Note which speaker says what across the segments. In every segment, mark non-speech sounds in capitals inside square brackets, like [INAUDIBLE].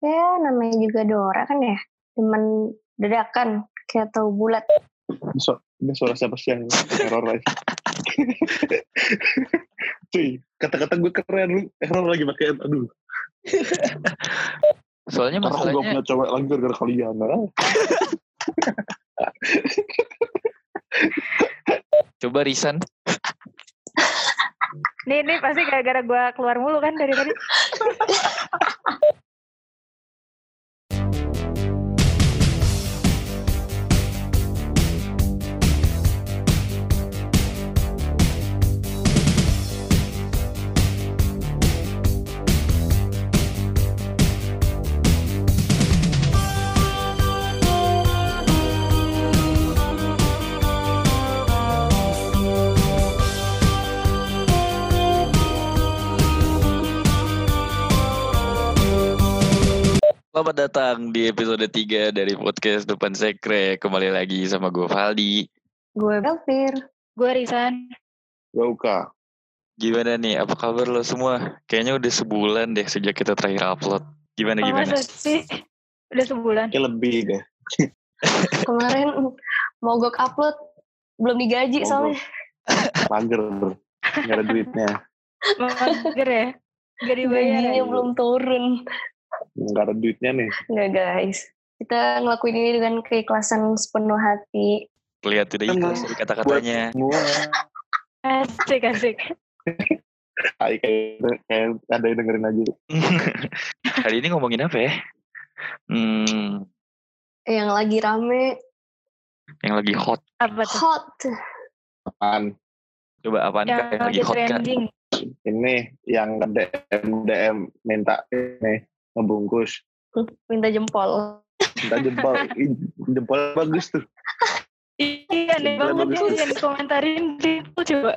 Speaker 1: Ya namanya juga Dora kan ya, demen dadakan kayak tahu bulat.
Speaker 2: Ini su- ini suara siapa sih yang error lagi? [LAUGHS] Cuy, kata-kata gue keren lu error lagi pakai aduh.
Speaker 3: Soalnya
Speaker 2: Karena gue
Speaker 3: masalahnya
Speaker 2: punya cewek lagi gara-gara kalian. ah.
Speaker 3: coba Risan
Speaker 4: Nih, nih pasti gara-gara gue keluar mulu kan dari tadi.
Speaker 3: Selamat datang di episode 3 dari podcast Depan Sekre. Kembali lagi sama gue Valdi.
Speaker 1: Gue Belvir.
Speaker 4: Gue Risan.
Speaker 2: Gauka.
Speaker 3: Gimana nih? Apa kabar lo semua? Kayaknya udah sebulan deh sejak kita terakhir upload. Gimana
Speaker 4: Oh,
Speaker 3: gimana?
Speaker 4: masa sih? Udah sebulan.
Speaker 2: Kayak lebih deh.
Speaker 1: Kemarin mogok upload belum digaji soalnya.
Speaker 2: Mager. Gak ada duitnya.
Speaker 4: Mager ya? Gak dibayar.
Speaker 1: Gajinya
Speaker 4: ya?
Speaker 1: belum turun.
Speaker 2: Gak ada duitnya nih.
Speaker 1: Enggak guys. Kita ngelakuin ini dengan keikhlasan sepenuh hati.
Speaker 3: Lihat tidak ikhlas dari kata-katanya.
Speaker 2: Semua.
Speaker 4: Asik, asik.
Speaker 2: Ay, kayak, kayak ada yang dengerin aja.
Speaker 3: [LAUGHS] Hari ini ngomongin apa ya? Hmm,
Speaker 1: Yang lagi rame,
Speaker 3: yang lagi hot.
Speaker 4: Apa tuh?
Speaker 1: hot.
Speaker 2: Apaan?
Speaker 3: Coba apaan
Speaker 4: Yang
Speaker 3: Kak, yang lagi
Speaker 4: lagi
Speaker 3: hot kan?
Speaker 4: trending.
Speaker 2: Ini yang DM, DM minta ini ngebungkus.
Speaker 1: Minta jempol.
Speaker 2: Minta jempol. Ih, jempol bagus tuh.
Speaker 4: Iya, nih
Speaker 2: Gila,
Speaker 4: banget
Speaker 2: bagus.
Speaker 4: tuh yang dikomentarin itu coba.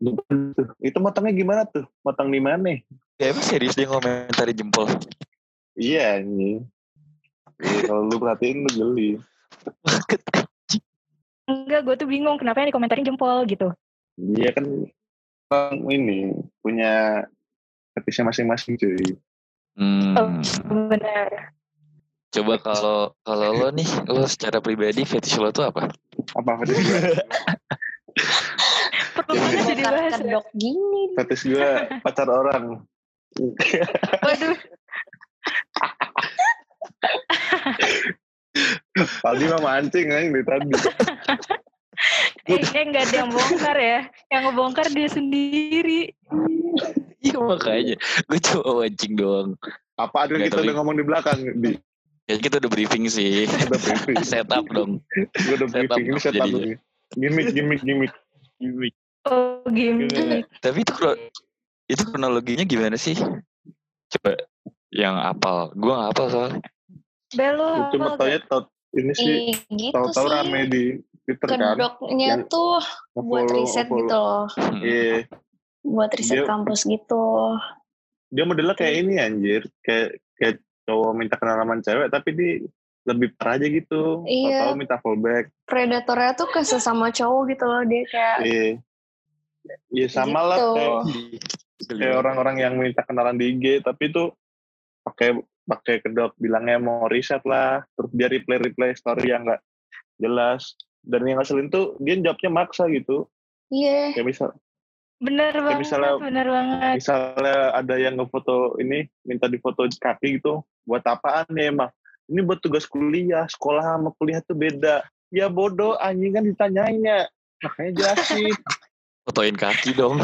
Speaker 2: Jempol tuh. Itu motongnya gimana tuh? Motong di mana?
Speaker 3: Ya emang serius dia ngomentarin jempol.
Speaker 2: Iya nih. Kalau lu perhatiin lu geli.
Speaker 3: Banget.
Speaker 4: Enggak, gue tuh bingung kenapa yang dikomentarin jempol gitu.
Speaker 2: Dia kan orang ini punya fetishnya masing-masing cuy.
Speaker 4: Oh.
Speaker 3: Hmm.
Speaker 4: Benar.
Speaker 3: Coba kalau kalau lo nih, lo secara pribadi fetish lo tuh apa?
Speaker 2: Apa fetish [LAUGHS] gue?
Speaker 4: Perlu
Speaker 2: Iya.
Speaker 4: banget jadi bahas. ya?
Speaker 1: Kedok gini.
Speaker 2: fetish gue pacar orang.
Speaker 4: Waduh,
Speaker 2: Paldi mah mancing aja dari tadi.
Speaker 4: eh, ini enggak ada yang bongkar ya. Yang ngebongkar dia sendiri.
Speaker 3: Iya makanya gue cuma mancing doang.
Speaker 2: Apa ada
Speaker 3: Nggak
Speaker 2: kita
Speaker 3: tahu.
Speaker 2: udah ngomong di belakang? Di,
Speaker 3: Ya kita udah briefing
Speaker 2: [LAUGHS]
Speaker 3: sih,
Speaker 2: udah briefing.
Speaker 3: setup dong.
Speaker 2: Gue udah
Speaker 3: Setup
Speaker 2: briefing. Ini
Speaker 3: dong
Speaker 2: setup
Speaker 3: jadinya.
Speaker 2: nih. Gimik, gimik, gimik.
Speaker 4: Oh,
Speaker 2: Gimana?
Speaker 4: gimmick.
Speaker 3: Tapi itu kro- itu kronologinya gimana sih? Coba yang apal, gue nggak apal soalnya.
Speaker 4: Belo.
Speaker 2: Cuma taunya tau, ini sih
Speaker 1: Ih, gitu
Speaker 2: tahu-tahu rame
Speaker 1: sih.
Speaker 2: di Twitter kan.
Speaker 1: Kedoknya
Speaker 2: Yang
Speaker 1: tuh buat
Speaker 2: Nge-follow,
Speaker 1: riset
Speaker 2: nge-follow.
Speaker 1: gitu loh.
Speaker 3: Hmm.
Speaker 2: Iya.
Speaker 1: Buat riset
Speaker 2: Dia-
Speaker 1: kampus gitu.
Speaker 2: dia modelnya kayak ini anjir kayak kayak cowok minta kenalan sama cewek tapi dia lebih parah aja gitu
Speaker 1: Iya.
Speaker 2: atau minta fallback
Speaker 1: predatornya tuh ke sesama cowok gitu loh dia kayak
Speaker 2: iya Iya sama lah
Speaker 1: Gitu.
Speaker 2: kayak, kayak orang-orang yang minta kenalan di IG tapi tuh pakai pakai kedok bilangnya mau riset lah terus dia replay replay story yang nggak jelas dan yang ngeselin tuh dia jawabnya maksa gitu
Speaker 1: iya [LAUGHS]
Speaker 2: kayak misal
Speaker 4: Bener banget,
Speaker 2: misalnya-
Speaker 4: bener banget.
Speaker 2: misalnya ada yang ngefoto ini minta difoto kaki gitu buat apaan ya emang ini buat tugas kuliah sekolah sama kuliah tuh beda ya bodoh anjing kan ditanyainnya makanya jelasin
Speaker 3: fotoin kaki dong.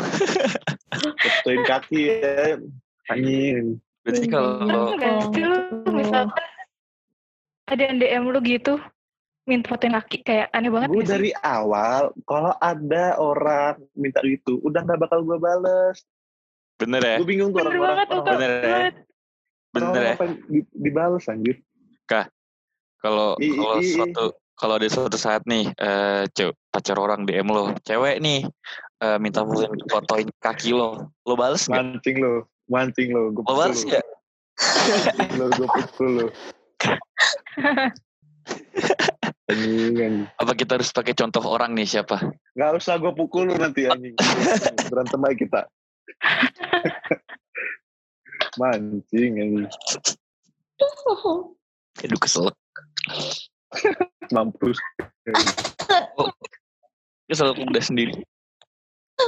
Speaker 2: fotoin kaki ya anjing
Speaker 3: Berarti
Speaker 4: Pernah
Speaker 3: kalau
Speaker 4: nggak Kan sih lu misalkan ada yang DM lu gitu, minta fotoin laki kayak aneh banget
Speaker 2: gue
Speaker 4: nggak sih?
Speaker 2: dari awal kalau ada orang minta gitu udah nggak bakal gue bales
Speaker 3: bener ya,
Speaker 2: gue bingung tuh
Speaker 4: Bener
Speaker 2: orang-orang
Speaker 4: banget, Oka.
Speaker 2: orang-orang-
Speaker 3: bener ya,
Speaker 4: Bener.
Speaker 3: bener ya.
Speaker 2: orang-orang apa yang di- dibales anjir
Speaker 3: Kalau
Speaker 2: I- i-
Speaker 3: kalau
Speaker 2: i- i.
Speaker 3: suatu kalau ada suatu saat nih, eh cewek pacar orang DM lo, cewek nih eh, minta fotoin, fotoin kaki lo, lo bales nggak?
Speaker 2: mancing lo mancing lo gue
Speaker 3: Lo bales nggak?
Speaker 2: Anjing lu gue pukul lu. Anjing, anjing.
Speaker 3: Apa kita harus pakai contoh orang nih siapa?
Speaker 2: Gak usah gue pukul lu nanti anjing. Berantem aja kita. Mancing anjing.
Speaker 3: Aduh kesel.
Speaker 2: mampus
Speaker 3: Kesel udah sendiri.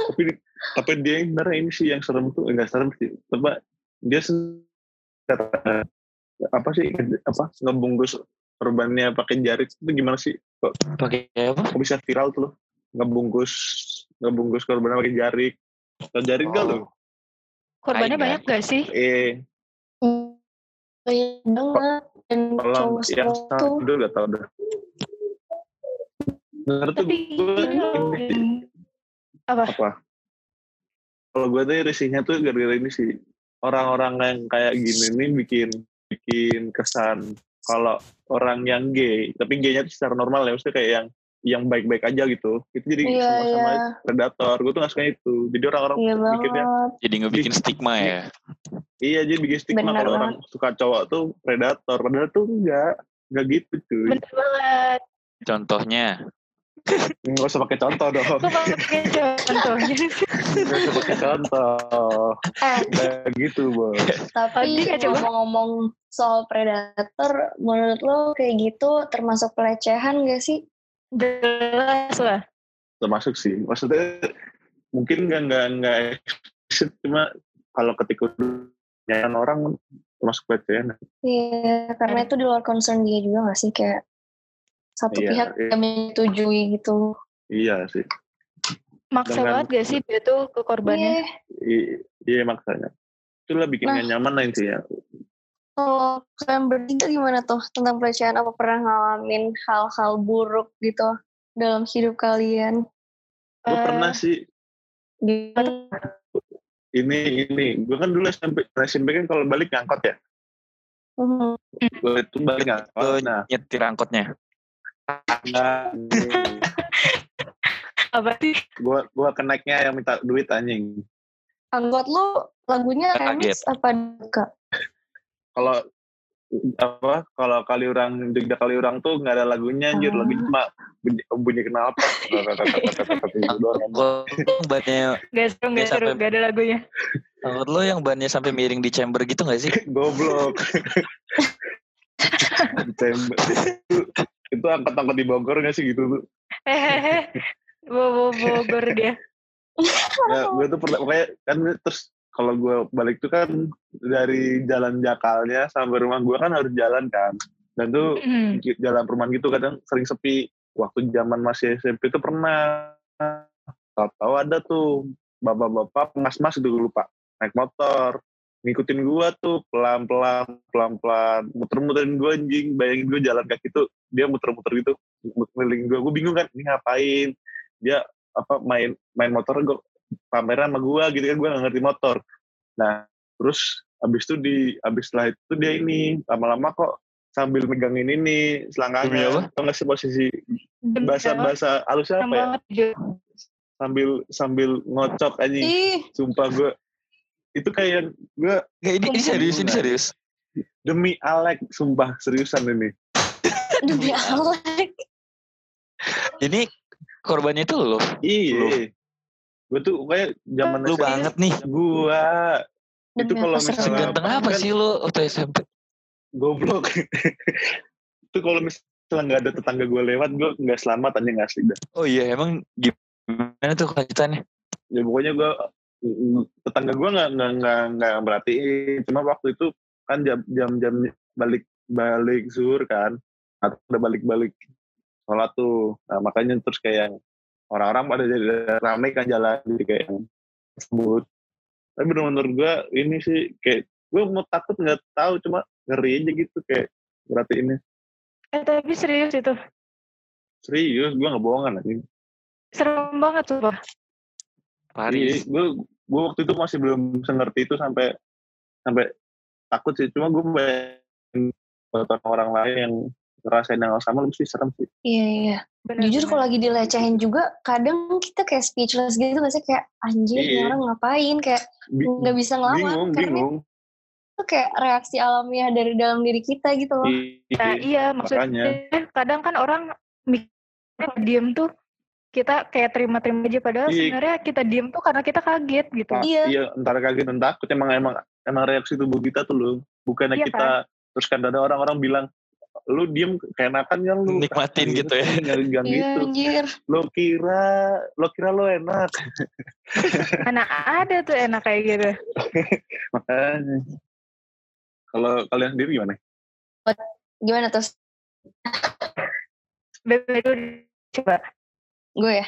Speaker 2: tapi tapi dia yang sebenarnya ini sih yang serem tuh enggak serem sih coba dia sen- kata apa sih apa ngebungkus korbannya pakai jari itu gimana sih kok,
Speaker 3: Pakai apa?
Speaker 2: kok bisa viral tuh loh ngebungkus ngebungkus korbannya pakai jari tau jari enggak
Speaker 3: Oh.
Speaker 2: loh
Speaker 4: Korbannya
Speaker 3: Hai,
Speaker 4: banyak gak sih?
Speaker 2: eh
Speaker 1: Banyak iya banget dan
Speaker 2: kalau
Speaker 1: cowok
Speaker 2: yang
Speaker 1: semua
Speaker 2: sama
Speaker 1: tuh
Speaker 2: dulu enggak tau dah bener tuh
Speaker 4: Tapi
Speaker 2: gue
Speaker 4: gini
Speaker 1: iya.
Speaker 4: loh.
Speaker 2: ini
Speaker 4: Apa?
Speaker 2: apa kalau gue tuh risihnya tuh gara-gara ini sih orang-orang yang kayak gini nih bikin bikin kesan kalau orang yang gay tapi gaynya tuh secara normal ya maksudnya kayak yang yang baik-baik aja gitu itu jadi
Speaker 1: Iya,
Speaker 2: sama-sama
Speaker 1: iya.
Speaker 2: predator gue tuh nggak suka itu jadi orang-orang
Speaker 1: Iya
Speaker 2: mikirnya
Speaker 1: banget.
Speaker 3: Jadi ngebikin stigma ya.
Speaker 2: iya jadi bikin stigma
Speaker 1: Benar
Speaker 2: kalau orang suka cowok tuh predator padahal tuh enggak enggak gitu cuy
Speaker 4: Bener banget.
Speaker 3: Contohnya,
Speaker 2: nggak usah pakai contoh dong
Speaker 4: Gue mau pakai
Speaker 2: [LAUGHS]
Speaker 4: contohnya.
Speaker 2: nggak usah pakai contoh
Speaker 1: Eh,
Speaker 2: kayak gitu bos
Speaker 1: tapi
Speaker 4: Tadi ya, coba.
Speaker 1: ngomong-ngomong soal predator, menurut lo kayak gitu termasuk pelecehan gak sih?
Speaker 4: Jelas lah.
Speaker 2: termasuk sih maksudnya mungkin nggak nggak nggak eksplisit, cuma kalau ketika nyanyian orang termasuk pelecehan
Speaker 1: Iya, karena itu di luar concern dia juga gak sih? Kayak satu
Speaker 2: Iya,
Speaker 1: pihak
Speaker 2: iya.
Speaker 1: yang menyetujui gitu.
Speaker 2: iya sih
Speaker 4: Maksa
Speaker 2: Dengan-
Speaker 4: banget gak sih dia tuh ke korbannya?
Speaker 1: Iya,
Speaker 2: I- iya maksudnya itulah bikin
Speaker 1: Nah.
Speaker 2: nggak nyaman lah intinya
Speaker 1: kalau kalian bertiga gimana tuh tentang pelecehan? Apa pernah ngalamin hal-hal buruk gitu dalam hidup kalian?
Speaker 2: gue
Speaker 4: Eh,
Speaker 2: pernah sih
Speaker 1: Gitu.
Speaker 2: ini ini gue kan dulu SMP nah, SMP kan kalau balik ngangkot ya
Speaker 1: Mhm.
Speaker 2: gue itu balik ngangkot nah
Speaker 3: nyetir angkotnya.
Speaker 4: Apa sih?
Speaker 2: gue gue keneknya yang minta duit anjing
Speaker 1: Anggot lu lagunya
Speaker 3: Kaget.
Speaker 1: remix apa enggak?
Speaker 2: kalau apa kalau kali orang jogja kali orang tuh nggak ada lagunya anjir
Speaker 1: Ah.
Speaker 2: lagunya cuma bunyi, bunyi kenal apa gitu doang, anjir.
Speaker 3: Angkot lo bannya,
Speaker 4: Gak seru, gak
Speaker 3: Dia
Speaker 4: seru.
Speaker 3: sampai-
Speaker 4: Gak ada lagunya.
Speaker 3: angkot lo yang bannya sampai miring di chamber gitu gak sih?
Speaker 2: [LAUGHS] goblok Ditembak. Itu- itu angkot-angkot di Bogor nggak sih gitu tuh
Speaker 4: Hehehe. Bobo Bogor dia.
Speaker 2: nah, gue tuh pernah pokoknya kan terus kalau gue balik tuh kan dari jalan Jakalnya sampai rumah gue kan harus jalan kan dan tuh
Speaker 4: Hmm.
Speaker 2: jalan perumahan gitu kadang sering sepi waktu zaman masih SMP itu pernah tahu ada tuh bapak-bapak mas-mas itu gue lupa naik motor ngikutin gua tuh pelan-pelan pelan-pelan muter-muterin gua anjing bayangin gua jalan kaki tuh dia muter-muter gitu muterin gua gua bingung kan ini ngapain dia apa main main motor gua pameran sama gua gitu kan gua gak ngerti motor nah terus abis itu di abis setelah itu dia ini lama-lama kok sambil megang ini nih
Speaker 3: Demi apa?
Speaker 2: selangkangan atau nggak sih posisi bahasa bahasa halusnya
Speaker 4: Serem
Speaker 2: apa ya
Speaker 4: banget. Jo.
Speaker 2: sambil sambil ngocok anjing
Speaker 1: Ih,
Speaker 2: sumpah gua itu kayak gua
Speaker 3: Gak, ini, ini serius, ini serius.
Speaker 2: demi Alek sumpah seriusan ini
Speaker 1: demi
Speaker 2: Iya.
Speaker 1: Allah.
Speaker 3: Ini korbannya itu lo.
Speaker 2: iya gue tuh kayak zaman
Speaker 3: Lu banget nih.
Speaker 2: gue itu
Speaker 1: Demi
Speaker 2: kalau
Speaker 1: apa serem?
Speaker 2: misalnya
Speaker 3: Seganteng apa
Speaker 2: kan
Speaker 3: sih lo waktu SMP?
Speaker 2: goblok itu kalau misalnya nggak ada tetangga gue lewat gue nggak selamat anjing asli dah
Speaker 3: Oh iya, emang gimana tuh kelanjutannya?
Speaker 2: ya pokoknya gue tetangga gue nggak nggak nggak nggak merhatiin cuma waktu itu kan jam jam jam balik balik zuhur kan atau udah balik balik sholat tuh nah, makanya terus kayak orang-orang pada jadi ramai kan jalan jadi kayak sebut tapi bener-bener gue ini sih kayak gue mau takut nggak tahu cuma ngeri aja gitu kayak berarti ini
Speaker 4: Eh tapi serius itu.
Speaker 2: serius gue nggak bohongan anjing Iya,
Speaker 4: Serem banget tuh, Pak.
Speaker 3: Paris.
Speaker 2: gue gue waktu itu masih belum bisa ngerti itu sampai sampai takut sih. Cuma gue bayangin buat orang lain yang ngerasain yang sama lebih serem sih.
Speaker 1: Iya, iya. Jujur kalau lagi dilecehin juga, kadang kita kayak speechless gitu gak sih? Kayak, anjir ini
Speaker 2: Iya.
Speaker 1: orang ngapain? Kayak
Speaker 2: Bi-
Speaker 1: nggak bisa ngelawan.
Speaker 2: bingung,
Speaker 1: Karena
Speaker 2: bingung.
Speaker 1: itu kayak reaksi alamiah dari dalam diri kita gitu loh.
Speaker 2: Iya.
Speaker 4: Nah, iya maksudnya kadang kan orang mikirnya kalau diem tuh kita kayak terima-terima aja padahal
Speaker 2: Iya.
Speaker 4: sebenarnya kita diem tuh karena kita kaget gitu.
Speaker 2: Ah,
Speaker 1: Iya.
Speaker 2: iya, entar kaget entar takut emang emang emang reaksi tubuh kita tuh loh. Bukannya
Speaker 1: kan?
Speaker 4: Iya,
Speaker 2: kita terus kadang ada orang-orang bilang lu diem keenakan kan lu
Speaker 3: Nikmatin gitu ya.
Speaker 1: Iya
Speaker 2: Jangan gitu
Speaker 1: anjir.
Speaker 2: lo kira lo kira lo enak
Speaker 4: Mana ada tuh enak kayak gitu.
Speaker 2: makanya kalau kalian sendiri gimana
Speaker 1: Gimana tuh
Speaker 4: Bebe dulu coba.
Speaker 1: gue ya?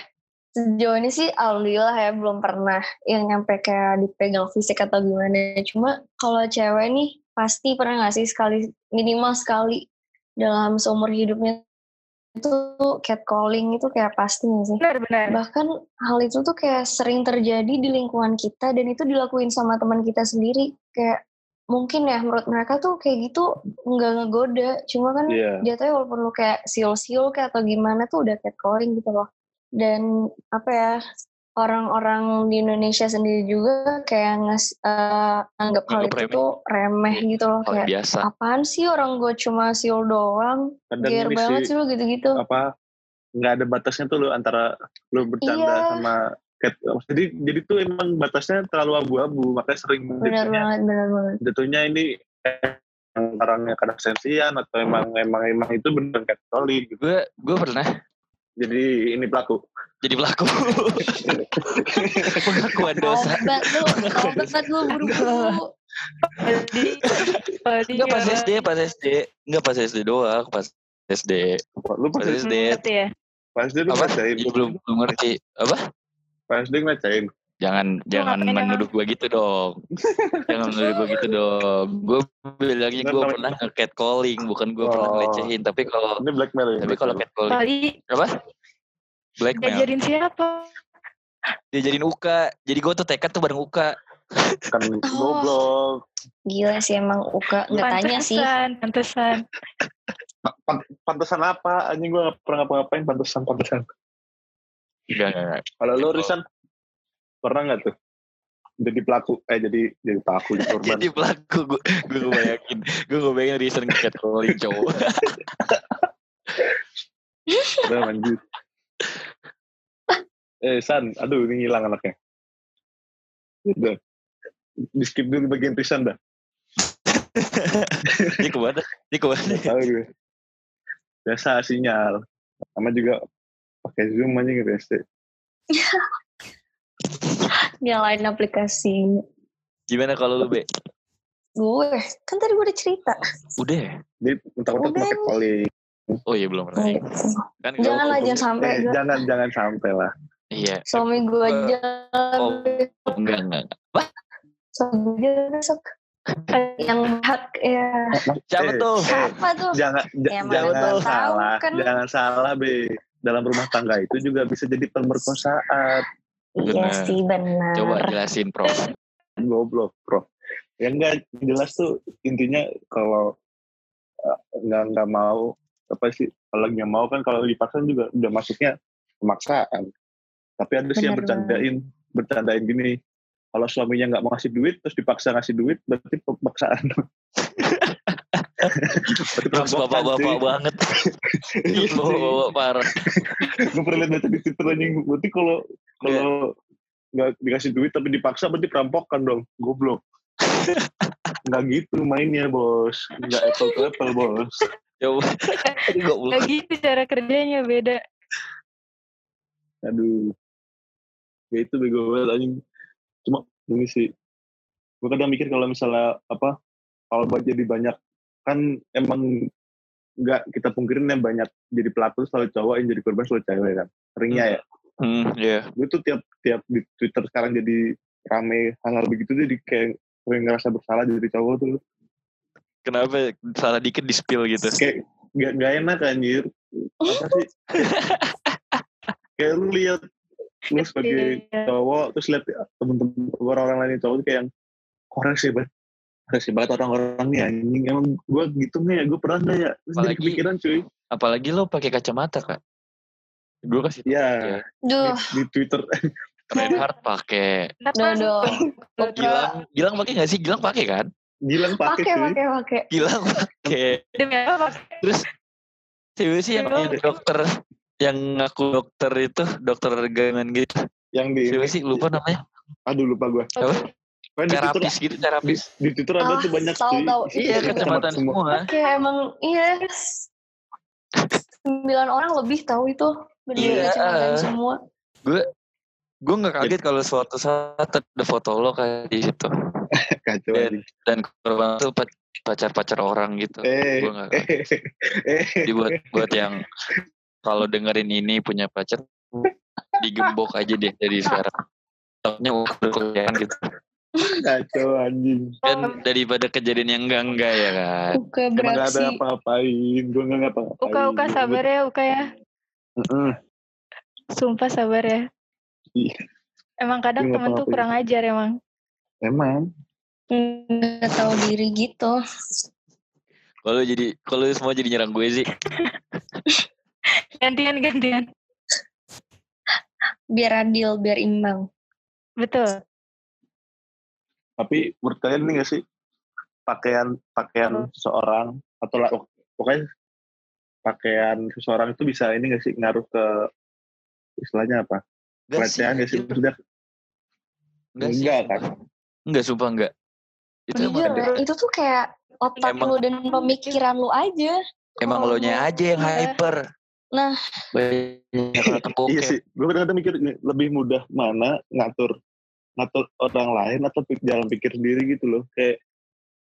Speaker 1: Sejauh ini sih alhamdulillah ya belum pernah yang nyampe kayak dipegang fisik atau gimana. Cuma kalau cewek nih pasti pernah nggak sih sekali minimal sekali dalam seumur hidupnya itu catcalling itu kayak pasti nggak sih?
Speaker 4: Benar-benar.
Speaker 1: Bahkan hal itu tuh kayak sering terjadi di lingkungan kita dan itu dilakuin sama teman kita sendiri. Kayak mungkin ya menurut mereka tuh kayak gitu nggak ngegoda. Cuma kan
Speaker 2: iya
Speaker 1: jatuhnya walaupun lu kayak siul-siul kayak atau gimana tuh udah catcalling gitu loh. Dan apa ya, orang-orang di Indonesia sendiri juga kayak nges, eh, anggap hal
Speaker 3: Nganggap
Speaker 1: itu
Speaker 3: remeh.
Speaker 1: tuh remeh gitu loh.
Speaker 3: Hal
Speaker 1: Kayak,
Speaker 3: biasa.
Speaker 1: apaan sih orang gue cuma siul doang,
Speaker 2: kadang
Speaker 1: gear
Speaker 2: ini
Speaker 1: banget
Speaker 2: sih
Speaker 1: sih lu gitu-gitu.
Speaker 2: apa nggak ada batasnya tuh lo antara lo bercanda
Speaker 1: Iya.
Speaker 2: sama cat jadi jadi tuh emang batasnya terlalu abu-abu makanya sering
Speaker 1: Bener
Speaker 2: jatuhnya,
Speaker 1: banget, bener banget.
Speaker 2: jatuhnya ini eh, orangnya kadang sensian atau emang emang emang itu bener catcalling gitu
Speaker 3: Gue gue pernah
Speaker 2: jadi ini pelaku
Speaker 3: jadi [LAUGHS] pelaku. Pengakuan dosa.
Speaker 1: Obat
Speaker 3: [LAUGHS]
Speaker 1: lu, obat lu buru-buru.
Speaker 4: Jadi, Iya.
Speaker 3: Enggak pas SD, pas SD. Enggak pas SD doang, pas SD.
Speaker 2: lu
Speaker 3: Pas
Speaker 2: pas
Speaker 3: SD.
Speaker 4: ya.
Speaker 2: pas dia lu
Speaker 3: Apa?
Speaker 2: ngacain
Speaker 3: Ya, belum belum ngerti. Apa?
Speaker 2: pas dia ngacain
Speaker 3: Jangan jangan
Speaker 4: ngapain emang?
Speaker 3: menuduh gue gitu dong. jangan menuduh gue gitu dong. Gue bilangnya
Speaker 2: Nggak
Speaker 3: gue
Speaker 2: tahu.
Speaker 3: pernah catcalling, bukan gue pernah
Speaker 2: Oh.
Speaker 3: ngelecehin. Tapi kalau
Speaker 2: ini blackmail ya
Speaker 3: tapi kalau
Speaker 2: blackmail.
Speaker 3: catcalling
Speaker 4: Kali
Speaker 3: blackmail
Speaker 4: diajarin siapa?
Speaker 3: dia jadiin Uka. Jadi gue tuh tekad tuh bareng Uka.
Speaker 2: kan
Speaker 1: Oh.
Speaker 2: goblok
Speaker 1: Gila sih emang Uka, nggak tanya sih.
Speaker 4: Pantesan, pantesan.
Speaker 2: pantesan apa anjing gue gak pernah ngapa-ngapain pantesan pantesan
Speaker 3: Enggak, enggak, enggak.
Speaker 2: kalau lu
Speaker 3: Betul.
Speaker 2: Risan pernah nggak tuh jadi pelaku eh jadi jadi pelaku jadi korban
Speaker 3: Jadi pelaku gue gue bayangin gue bayangin reason catcalling cowok.
Speaker 2: udah lanjut eh San aduh ini hilang anaknya udah di skip dulu bagian Risan dah
Speaker 3: Ini kemana? Ini kemana?
Speaker 2: Nggak tahu gue biasa sinyal sama juga pakai zoom aja gitu ya
Speaker 1: Nyalain aplikasi.
Speaker 3: Gimana kalau lu be?
Speaker 1: Gue, kan tadi gue udah cerita.
Speaker 3: Udah. ya?
Speaker 2: jadi mentok-mentok
Speaker 1: Udah.
Speaker 2: pakai poli
Speaker 3: Oh iya belum pernah. ya.
Speaker 1: Gitu.
Speaker 3: Kan gak-
Speaker 1: Jangan lah, jangan sampai.
Speaker 2: eh,
Speaker 1: gue-
Speaker 2: jangan jangan sampai lah
Speaker 3: Iya.
Speaker 1: Suami gue aja.
Speaker 3: Oh. Enggak enggak. enggak.
Speaker 1: Suami gue aja besok. Yang hak, ya.
Speaker 3: Siapa
Speaker 2: Eh,
Speaker 3: tuh?
Speaker 2: eh,
Speaker 1: Siapa tuh?
Speaker 3: Iya
Speaker 2: jangan ja-
Speaker 1: Ya, mana
Speaker 2: jangan
Speaker 1: tahu
Speaker 2: salah
Speaker 1: kan.
Speaker 2: jangan salah be dalam rumah tangga itu juga bisa jadi pemerkosaan
Speaker 1: Iya
Speaker 3: Bener.
Speaker 1: sih, benar.
Speaker 3: Coba jelasin
Speaker 2: [LAUGHS]
Speaker 3: Prof.
Speaker 2: goblok bro ya enggak jelas tuh intinya kalau eh, nggak nggak mau apa sih kalau nggak mau kan kalau dipaksa juga udah masuknya pemaksaan tapi ada sih yang
Speaker 1: Bener banget.
Speaker 2: bercandain bercandain gini kalau suaminya nggak mau ngasih duit terus dipaksa ngasih duit berarti pemaksaan Berarti
Speaker 3: Prof bapak-bapak
Speaker 2: perampokan,
Speaker 3: banget.
Speaker 2: cuy. [LAUGHS] Iya,
Speaker 3: Iya,
Speaker 2: cuy.
Speaker 3: bapak-bapak parah.
Speaker 2: gue pernah lihat baca di Twitter anjing berarti kalau kalau nggak dikasih duit tapi dipaksa berarti perampokan dong goblok nggak gitu mainnya bos nggak apple to apple bos
Speaker 3: Coba. Ini goblok.
Speaker 4: Lagi cara kerjanya beda.
Speaker 2: aduh ya itu bego banget anjing cuma ini sih gue kadang mikir kalau misalnya apa kalau buat jadi banyak kan emang nggak kita pungkirin yang banyak jadi pelaku tuh selalu cowok yang jadi korban selalu cewek kan seringnya ya
Speaker 3: Hmm, iya.
Speaker 2: gue tuh tiap tiap di Twitter sekarang jadi rame hal-hal begitu jadi kayak gue ngerasa bersalah jadi cowok tuh
Speaker 3: Kenapa salah dikit di spill gitu?
Speaker 2: kayak gak, gak enak anjir apa sih kayak lu lihat lu sebagai
Speaker 4: Iya.
Speaker 2: cowok terus lihat temen-temen orang-orang lain yang cowok tuh kayak yang orang sih banget orang sih banget orang-orang nih anjing emang gue gitu nih ya gue pernah nggak ya terus jadi
Speaker 3: Apalagi-
Speaker 2: kepikiran cuy
Speaker 3: Apalagi lo pakai kacamata, Kak. Gue
Speaker 2: [LAUGHS]
Speaker 3: kasih
Speaker 2: ya di,
Speaker 1: Duh,
Speaker 2: di Twitter [LAUGHS]
Speaker 3: Reinhardt pakai.
Speaker 1: duh, duh.
Speaker 4: [LAUGHS] Gila.
Speaker 3: Gilang, Gilang pakai nggak sih? Gilang pakai kan?
Speaker 2: Gilang pakai
Speaker 1: Pakai,
Speaker 2: cuy
Speaker 1: pakai, pakai.
Speaker 3: Gilang pakai.
Speaker 4: Demi apa pakai?
Speaker 3: Terus cewek sih yang
Speaker 4: Gilang.
Speaker 3: dokter yang ngaku dokter itu dokter gangan gitu
Speaker 2: yang di
Speaker 3: siapa sih lupa namanya
Speaker 2: aduh lupa gue
Speaker 3: Apa?
Speaker 2: Pokoknya di Twitter-
Speaker 3: terapis gitu terapis
Speaker 2: Di Twitter ada
Speaker 1: Ah,
Speaker 2: tuh banyak
Speaker 1: tahu,
Speaker 2: cuy.
Speaker 1: tahu.
Speaker 2: Isinya
Speaker 3: iya
Speaker 1: Iya,
Speaker 3: kecamatan semua
Speaker 1: Kayak emang iya sembilan orang lebih tahu itu
Speaker 3: Iya,
Speaker 1: benar-benar kecamatan
Speaker 3: eh.
Speaker 1: semua.
Speaker 3: gue nggak kaget kalau suatu saat ada foto lo kayak di situ
Speaker 2: Kacau
Speaker 3: Iya.
Speaker 2: anjing.
Speaker 3: dan korban tuh pa- pacar-pacar orang gitu
Speaker 2: Eh,
Speaker 3: gue nggak Iya.
Speaker 2: eh, eh,
Speaker 3: Jadi buat buat yang kalau dengerin ini punya pacar digembok aja deh dari sekarang. Takutnya berkoyan gitu.
Speaker 2: kacau anjing.
Speaker 3: Kan daripada kejadian yang enggak enggak ya kan.
Speaker 1: Buka
Speaker 2: Emang gak ada
Speaker 1: beraksi.
Speaker 2: apa-apain, gue gak ngapa-ngapain.
Speaker 4: Uka Uka sabar ya Uka ya.
Speaker 2: Mm-mm.
Speaker 4: Sumpah sabar ya.
Speaker 2: Iya.
Speaker 4: Emang kadang
Speaker 2: Iya,
Speaker 4: temen tuh
Speaker 2: apa-apa.
Speaker 4: kurang ajar emang.
Speaker 2: Emang.
Speaker 1: Nggak tahu diri gitu.
Speaker 3: Kalau jadi kalau semua jadi nyerang gue sih.
Speaker 4: Gantian gantian.
Speaker 1: Biar adil, biar imbang.
Speaker 4: Betul.
Speaker 2: Tapi menurut kalian ini gak sih pakaian pakaian seorang atau lah, pokoknya pakaian seseorang itu bisa ini gak sih ngaruh ke istilahnya apa?
Speaker 3: Enggak sih.
Speaker 2: Pelecehan gak sih?
Speaker 3: anjir.
Speaker 2: Maksudnya
Speaker 3: Enggak sih.
Speaker 2: Enggak kan?
Speaker 3: Enggak sumpah enggak. Itu emang,
Speaker 1: Jujur, ya, itu tuh kayak otak
Speaker 3: Emang-
Speaker 1: lu dan pemikiran lu aja.
Speaker 3: emang lo nya aja yang
Speaker 4: Iya.
Speaker 3: hyper.
Speaker 1: Nah.
Speaker 3: banyak nonton
Speaker 2: Iya
Speaker 3: bokep.
Speaker 2: sih, gue kadang-kadang mikir ini lebih mudah mana ngatur ngatur orang lain atau pik- jalan pikir sendiri gitu loh. Kayak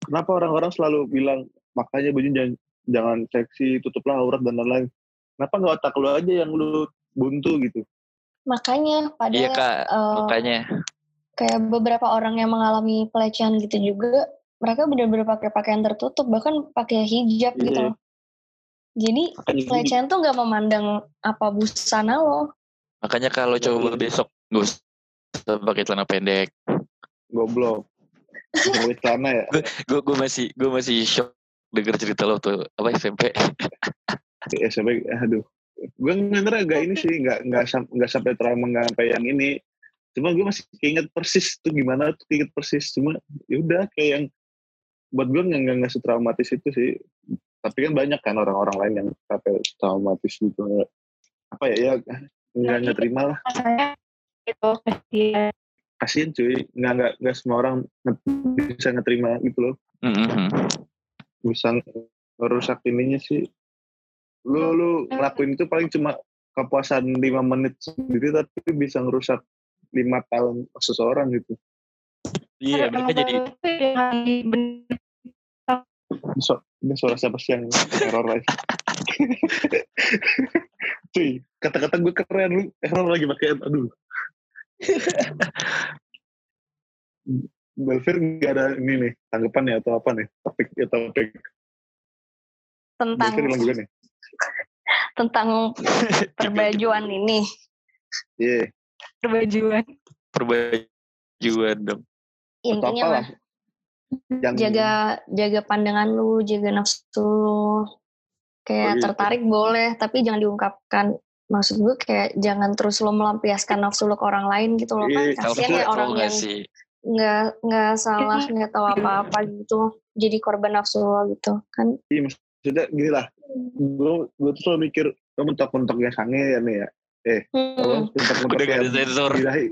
Speaker 2: kenapa orang-orang selalu bilang makanya baju jangan jangan seksi, tutuplah aurat dan lain-lain. Kenapa nggak otak lu aja yang lu buntu gitu?
Speaker 1: Makanya pada
Speaker 3: Iya kak,
Speaker 1: eh,
Speaker 3: makanya
Speaker 1: kayak beberapa orang yang mengalami pelecehan gitu juga, mereka benar-benar pakai pakaian tertutup, bahkan pakai hijab gitu
Speaker 2: Iya.
Speaker 1: loh. Jadi
Speaker 2: Makanya gini,
Speaker 1: pelecehan tuh nggak memandang apa busana lo.
Speaker 3: makanya kalau
Speaker 2: Iya,
Speaker 3: coba besok gue usah pakai celana pendek.
Speaker 2: goblok. Gue celana ya.
Speaker 3: gue gue masih gue masih shock denger cerita lo tuh apa SMP
Speaker 2: Ya sampai aduh. Gue ngantar agak ini sih nggak nggak sam- nggak sampai terlalu menggapai yang ini. Cuma gue masih keinget persis tuh gimana tuh keinget persis. Cuma ya udah kayak yang buat gue nggak nggak nggak setraumatis itu sih. Tapi kan banyak kan orang-orang lain yang sampai traumatis gitu. Apa ya ya nggak nggak terima lah.
Speaker 4: Rasanya itu kasihan.
Speaker 2: Kasian cuy. Nggak nggak nggak semua orang nge- bisa ngeterima gitu loh.
Speaker 3: Mhm.
Speaker 2: bisa ngerusak ininya sih lu lu ngelakuin itu paling cuma kepuasan lima menit sendiri tapi bisa ngerusak lima tahun seseorang gitu
Speaker 3: iya
Speaker 4: Emang
Speaker 3: mereka jadi
Speaker 4: baru itu yang bener.
Speaker 2: Ini su- ini suara siapa sih yang error lagi [LAUGHS] cuy kata-kata gue keren lu error lagi pakai aduh Belvir gak ada ini nih tanggapan ya atau apa nih topik ya topik
Speaker 1: tentang
Speaker 2: Belvir hilang juga nih [LAUGHS]
Speaker 1: tentang perbajuan ini.
Speaker 2: iya
Speaker 4: Perbajuan.
Speaker 3: perbajuan dong
Speaker 2: atau apa
Speaker 1: Intinya
Speaker 2: lah
Speaker 1: mah jaga jaga pandangan lu, jaga nafsu lu.
Speaker 2: Oh,
Speaker 1: Kayak
Speaker 2: iya.
Speaker 1: tertarik boleh, tapi jangan diungkapkan. Maksud gue kayak jangan terus lo melampiaskan nafsu lo ke orang lain gitu loh kan.
Speaker 2: Iya,
Speaker 1: Kasian
Speaker 2: [LAUGHS] nafsu
Speaker 1: ya orang
Speaker 3: tau gak
Speaker 1: yang
Speaker 3: sih
Speaker 1: nggak nggak salah, nggak tahu apa-apa gitu. Jadi korban nafsu lo gitu kan.
Speaker 2: Iya maksudnya gini lah, gue gue tuh selalu mikir lo mentok-mentoknya sange ya nih ya,
Speaker 1: Hmm.
Speaker 2: lo mentok-mentok
Speaker 3: udah gak ada
Speaker 2: yang
Speaker 3: sensor
Speaker 2: birahi,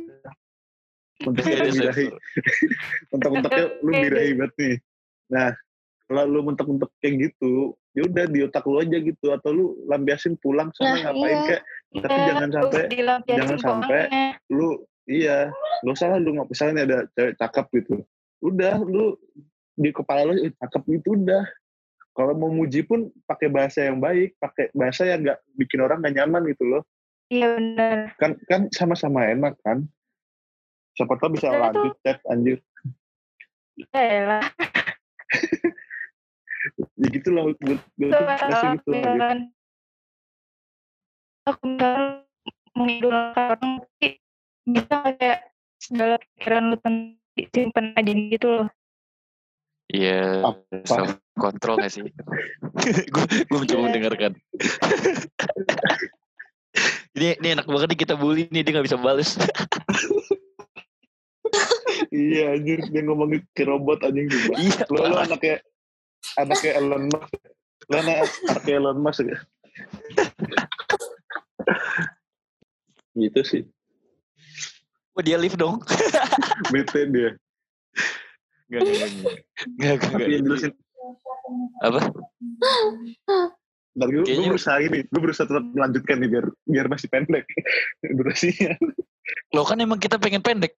Speaker 3: udah
Speaker 2: mentok
Speaker 3: gak ada
Speaker 2: birahi,
Speaker 3: sensor
Speaker 2: mentok-mentoknya lu birahi banget nih. Nah kalau lu mentok-mentok kayak gitu, ya udah di otak lu aja gitu atau lu lambiasin pulang sana
Speaker 1: Nah,
Speaker 2: ngapain
Speaker 1: iya.
Speaker 2: kayak Tapi
Speaker 4: Iya,
Speaker 2: jangan
Speaker 4: terus
Speaker 2: sampai-
Speaker 4: dilampiasin
Speaker 2: jangan
Speaker 4: ke
Speaker 2: sampai
Speaker 4: orangnya.
Speaker 2: lu iya, gak usah lah lu nggak misalnya nih ada cewek cakep gitu, udah lu di kepala lu "Ih, cakep gitu udah. Kalau mau muji pun pakai bahasa yang baik, pakai bahasa yang nggak bikin orang gak nyaman gitu loh.
Speaker 4: Iya benar.
Speaker 2: kan kan sama-sama enak kan siapa tahu bisa
Speaker 4: Sebenarnya
Speaker 2: lanjut chat anjir
Speaker 4: Ya lah.
Speaker 2: ya gitu loh gue gue
Speaker 4: Itu
Speaker 2: tuh stres gitu anjir
Speaker 4: misalkan aku misalkan mengidolakan orang tapi bisa nggak kayak segala pikiran lu ten- simpen aja gitu loh.
Speaker 3: iya self control gak sih [LAUGHS] gue gue mencoba
Speaker 4: Iya.
Speaker 3: mendengarkan [LAUGHS] ini ini enak banget nih kita bully nih dia gak bisa balas
Speaker 2: iya anjir dia ngomongin ke robot anjing gitu. juga
Speaker 3: iya
Speaker 2: lo lo anaknya anaknya Elon Musk lo anak anaknya Elon Musk ya gitu sih Gitu
Speaker 3: Wah, dia live dong
Speaker 2: bete dia
Speaker 3: Enggak, enggak, enggak. Enggak, enggak,
Speaker 2: Tapi yang
Speaker 3: enggak.
Speaker 2: jelasin.
Speaker 3: Apa?
Speaker 2: Ntar gue, gue
Speaker 3: Kayaknya-
Speaker 2: berusaha ini, gue berusaha tetap melanjutkan nih biar biar masih pendek [LAUGHS] durasinya.
Speaker 3: Lo kan emang kita pengen pendek.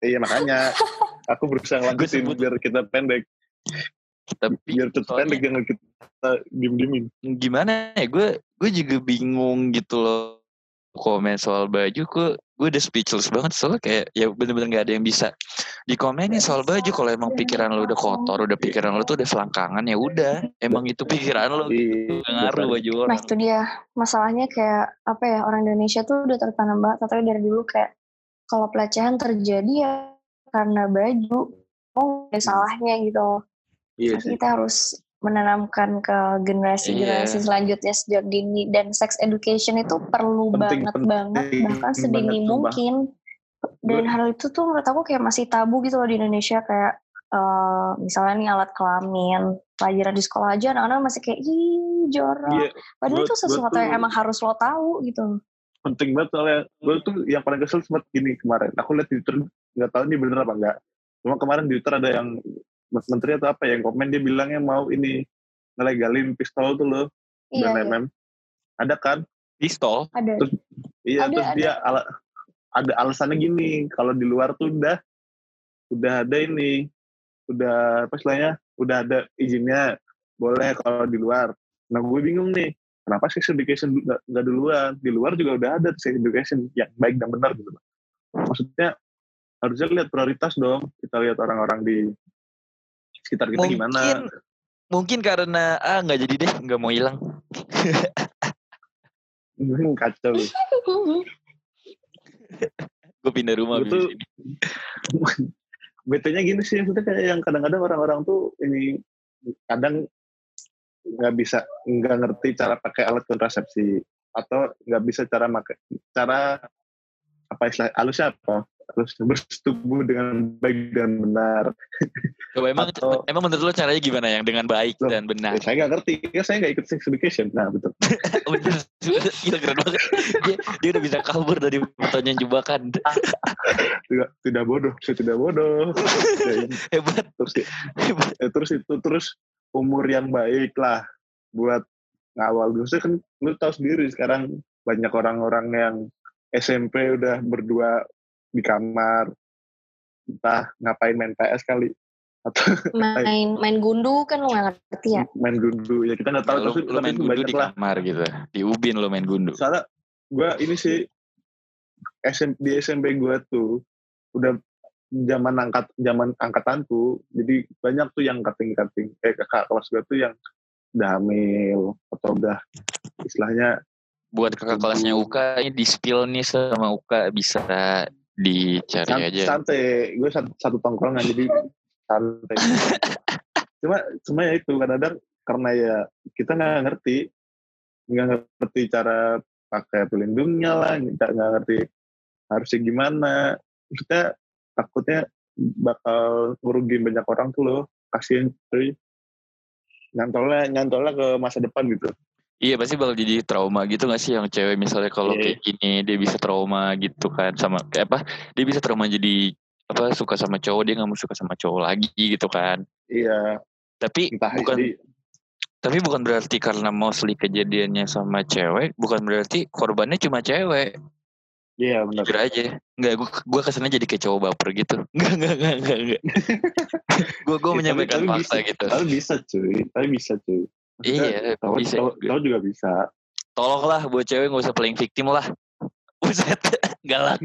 Speaker 2: Iya makanya aku berusaha lanjutin
Speaker 3: sebut-
Speaker 2: biar kita pendek,
Speaker 3: Tapi
Speaker 2: biar tetap
Speaker 3: soalnya-
Speaker 2: pendek jangan kita diem diemin.
Speaker 3: gimana ya? Gue gue juga bingung gitu loh. Komen soal baju, gue gue udah speechless banget soalnya kayak ya bener-bener nggak ada yang bisa dikomenin soal baju. Kalau emang pikiran lo udah kotor, udah pikiran lo tuh udah selangkangan ya udah. Emang itu pikiran lo.
Speaker 2: Iya.
Speaker 3: Gak ngaruh baju
Speaker 1: Nah
Speaker 3: orang.
Speaker 1: itu dia masalahnya kayak apa ya orang Indonesia tuh udah tertanam banget tapi dari dulu kayak kalau pelecehan terjadi ya karena baju oh ada salahnya gitu.
Speaker 2: Iya
Speaker 1: Jadi
Speaker 2: sih.
Speaker 1: kita harus menanamkan ke generasi-generasi
Speaker 3: Iya.
Speaker 1: selanjutnya sejak dini dan sex education itu perlu
Speaker 2: Penting,
Speaker 1: banget
Speaker 2: penting
Speaker 1: banget bahkan
Speaker 2: banget,
Speaker 1: sedini
Speaker 2: sumpah.
Speaker 1: mungkin dan hal itu tuh menurut aku kayak masih tabu gitu loh di Indonesia kayak eh, misalnya nih alat kelamin pelajaran di sekolah aja anak-anak masih kayak ih jorok
Speaker 2: Iya,
Speaker 1: Padahal
Speaker 2: Buat-
Speaker 1: itu sesuatu
Speaker 2: buat
Speaker 1: yang
Speaker 2: tuh-
Speaker 1: emang harus lo tahu gitu.
Speaker 2: penting banget soalnya gue tuh yang paling kesel sempat gini kemarin aku lihat di Twitter nggak tahu ini bener apa enggak cuma kemarin di Twitter ada yang menteri atau apa yang komen dia bilangnya mau ini ngelegalin pistol tuh loh
Speaker 1: Iya,
Speaker 2: dan
Speaker 1: iya.
Speaker 2: mm ada kan
Speaker 3: Pistol.
Speaker 1: ada.
Speaker 2: Terus- iya
Speaker 1: Ada,
Speaker 2: terus
Speaker 1: ada.
Speaker 2: dia ala, ada alasannya gini kalau di luar tuh udah udah ada ini udah apa istilahnya udah ada izinnya boleh kalau di luar nah gue bingung nih kenapa sex education du- nggak nggak duluan di luar juga udah ada sex education yang baik dan benar gitu loh. maksudnya harusnya lihat prioritas dong kita lihat orang-orang di sekitar kita gimana
Speaker 3: Mungkin mungkin karena ah nggak jadi deh nggak mau hilang
Speaker 2: Hmm, [LAUGHS] kacau lu.
Speaker 1: [LAUGHS]
Speaker 3: gue pindah rumah
Speaker 2: Gua tuh-
Speaker 3: abis ini.
Speaker 2: betenya gini gitu sih maksudnya kayak yang kadang-kadang orang-orang tuh ini kadang nggak bisa nggak ngerti cara pakai alat kontrasepsi atau nggak bisa cara make cara apa istilah halusnya apa harus bersetubuh dengan baik dan benar
Speaker 3: Coba emang
Speaker 2: atau-
Speaker 3: emang menurut lo caranya gimana yang dengan baik
Speaker 2: Loh.
Speaker 3: dan
Speaker 2: Eh,
Speaker 3: benar?
Speaker 2: saya nggak ngerti kan saya nggak ikut sex education nah betul
Speaker 3: Bener, gila keren banget. Dia, dia udah bisa kabur dari pertanyaan jebakan.
Speaker 2: Ah. tidak tidak bodoh saya tidak bodoh Ya, ya.
Speaker 3: Hebat,
Speaker 2: terus
Speaker 3: hebat.
Speaker 2: ya, terus itu terus umur yang baik lah buat ngawal dulu Saya kan lu tahu sendiri sekarang banyak orang-orang yang SMP udah berdua di kamar entah ngapain main PS kali
Speaker 1: main main gundu kan lo gak ngerti ya.
Speaker 2: main gundu ya kita nggak tahu
Speaker 3: Ya, lu,
Speaker 2: tapi,
Speaker 3: lu
Speaker 2: tapi
Speaker 3: main
Speaker 2: itu
Speaker 3: gundu
Speaker 2: banyak
Speaker 3: di
Speaker 2: lah
Speaker 3: kamar gitu. Di ubin lu main gundu.
Speaker 2: soalnya gue ini sih SM, di SMP gue tuh udah zaman angkat zaman angkatanku jadi banyak tuh yang kating kating eh kakak kelas gue tuh yang udah hamil atau udah istilahnya
Speaker 3: Buat kakak kelasnya Uka, ini di spill nih sama Uka bisa dicari
Speaker 2: san-
Speaker 3: aja.
Speaker 2: santai gue satu, satu tongkrongan jadi
Speaker 3: [LAUGHS]
Speaker 2: santai cuma cuma ya itu kadang-kadang karena ya kita nggak ngerti nggak ngerti cara pakai pelindungnya lah kita nggak ngerti harusnya gimana kita takutnya bakal ngerugiin banyak orang tuh loh kasihan cuy nyantolnya nyantolnya ke masa depan gitu
Speaker 3: Iya pasti bakal jadi trauma gitu gak sih yang cewek misalnya kalau
Speaker 2: Iya.
Speaker 3: kayak gini dia bisa trauma gitu kan sama kayak apa dia bisa trauma jadi apa suka sama cowok dia nggak mau suka sama cowok lagi gitu kan
Speaker 2: iya
Speaker 3: tapi
Speaker 2: entah
Speaker 3: bukan
Speaker 2: jadi
Speaker 3: tapi bukan berarti karena mostly kejadiannya sama cewek bukan berarti korbannya cuma cewek
Speaker 2: iya benar
Speaker 3: jujur aja nggak gua gua kesannya jadi kayak cowok baper gitu [LAUGHS] nggak nggak nggak nggak
Speaker 2: [LAUGHS]
Speaker 3: nggak gua
Speaker 2: Iya,
Speaker 3: gua
Speaker 2: tapi-
Speaker 3: menyampaikan
Speaker 2: tapi
Speaker 3: fakta
Speaker 2: bisa,
Speaker 3: gitu
Speaker 2: tapi bisa cuy tapi bisa cuy Maksudnya,
Speaker 3: iya
Speaker 2: cowok-
Speaker 3: bisa
Speaker 2: cowok- cowok juga bisa
Speaker 3: tolonglah buat cewek nggak usah playing victim lah [LAUGHS] buset galak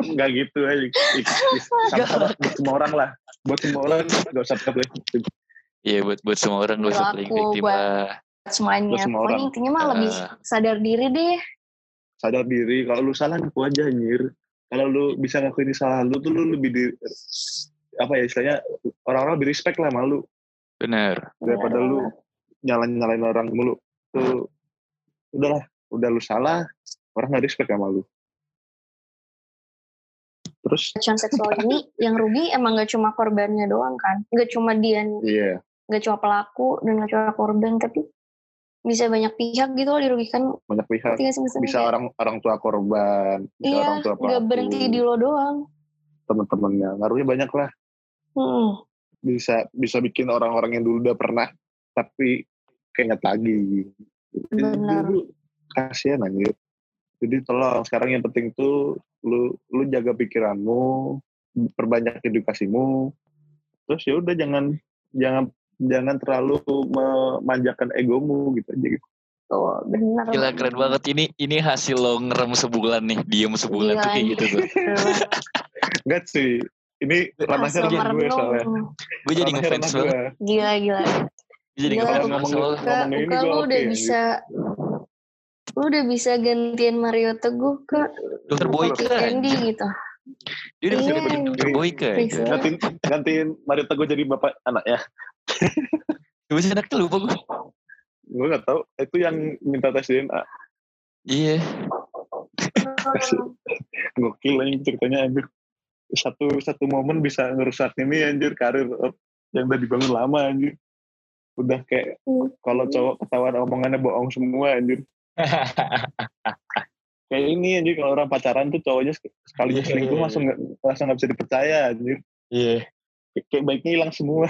Speaker 2: Enggak gitu aja. Sama-sama buat semua orang lah. Buat semua orang gak usah pakai plastik.
Speaker 3: Iya buat buat semua orang gak usah playing
Speaker 1: Berlaku
Speaker 3: victim
Speaker 1: buat-
Speaker 3: lah.
Speaker 1: Semuanya.
Speaker 2: Terus semua
Speaker 1: Pokoknya
Speaker 2: orang.
Speaker 1: intinya mah lebih
Speaker 3: Eh.
Speaker 1: sadar diri deh.
Speaker 2: Sadar diri. Kalau lu salah ngaku aja anjir. Kalau lu bisa ngakuin salah lu tuh lu lebih di apa ya istilahnya orang-orang lebih respect lah sama lu
Speaker 3: Bener.
Speaker 2: daripada lu
Speaker 1: Iya.
Speaker 2: nyalain-nyalain orang mulu tuh udahlah udah lu salah orang nggak respect sama lu terus
Speaker 1: Pelecehan seksual ini yang rugi emang gak cuma korbannya doang kan. Gak cuma dia,
Speaker 2: iya
Speaker 1: gak cuma pelaku dan gak cuma korban tapi bisa banyak pihak gitu loh dirugikan.
Speaker 2: banyak pihak
Speaker 1: Ngerti gak sih maksudnya?
Speaker 2: bisa orang orang tua korban bisa
Speaker 1: Iya,
Speaker 2: orang tua
Speaker 1: Gak berhenti di lo doang.
Speaker 2: teman-temannya ngaruhnya banyak lah
Speaker 1: Hmm.
Speaker 2: bisa bisa bikin orang-orang yang dulu udah pernah tapi keinget lagi Jadi [LAUGHS]
Speaker 1: Benar.
Speaker 2: dulu kasihan anjir jadi tolong sekarang yang penting tuh lu lu jaga pikiranmu perbanyak edukasimu terus ya udah jangan jangan jangan terlalu memanjakan egomu gitu aja gitu
Speaker 1: Tuh, benar.
Speaker 3: Gila keren banget ini ini hasil lo ngerem sebulan nih, diem sebulan tuh kayak
Speaker 1: Gila.
Speaker 3: gitu tuh.
Speaker 2: enggak sih ini
Speaker 1: Hasil
Speaker 2: ranahnya ranah gue soalnya
Speaker 1: merenung.
Speaker 3: Gue Iya, jadi
Speaker 2: Ranahnya
Speaker 3: ngefans
Speaker 2: ranah
Speaker 3: banget.
Speaker 2: gue.
Speaker 1: Hmm, Gila, gila.
Speaker 3: Gue
Speaker 1: Gila,
Speaker 3: jadi ngefans
Speaker 1: Buka-
Speaker 3: banget
Speaker 2: ngomongin-
Speaker 3: soalnya.
Speaker 1: Kak,
Speaker 2: ngomongin ini
Speaker 1: Buka,
Speaker 2: gue
Speaker 1: lu
Speaker 2: oke, ya, gitu.
Speaker 1: udah
Speaker 2: anjir.
Speaker 1: bisa... Lu udah bisa gantian Mario Teguh, Kak.
Speaker 3: Dokter
Speaker 1: atau
Speaker 3: Boyka.
Speaker 1: Kick Andy
Speaker 3: anjir.
Speaker 1: gitu.
Speaker 3: Dia udah bisa
Speaker 1: Iya.
Speaker 3: jadi dokter
Speaker 2: Iya.
Speaker 3: Boyka.
Speaker 1: Please.
Speaker 3: anjir.
Speaker 2: gantiin gantiin Mario Teguh jadi bapak ya. anaknya
Speaker 3: Gue sih anaknya lupa gue.
Speaker 2: gue nggak tahu itu yang minta tes DNA
Speaker 3: Iya.
Speaker 2: gokil anjing ceritanya anjir satu satu momen bisa ngerusak ini anjir karir eh, yang udah dibangun lama anjir udah kayak
Speaker 3: Hmm.
Speaker 2: kalau cowok ketahuan omongannya bohong semua
Speaker 3: [LAUGHS]
Speaker 2: anjir kayak ini anjir kalau orang pacaran tuh cowoknya sek- sekali
Speaker 3: Iya,
Speaker 2: selingkuh
Speaker 3: iya,
Speaker 2: langsung nggak langsung nggak bisa dipercaya anjir
Speaker 3: Iya.
Speaker 2: Kayak- kayak baiknya hilang semua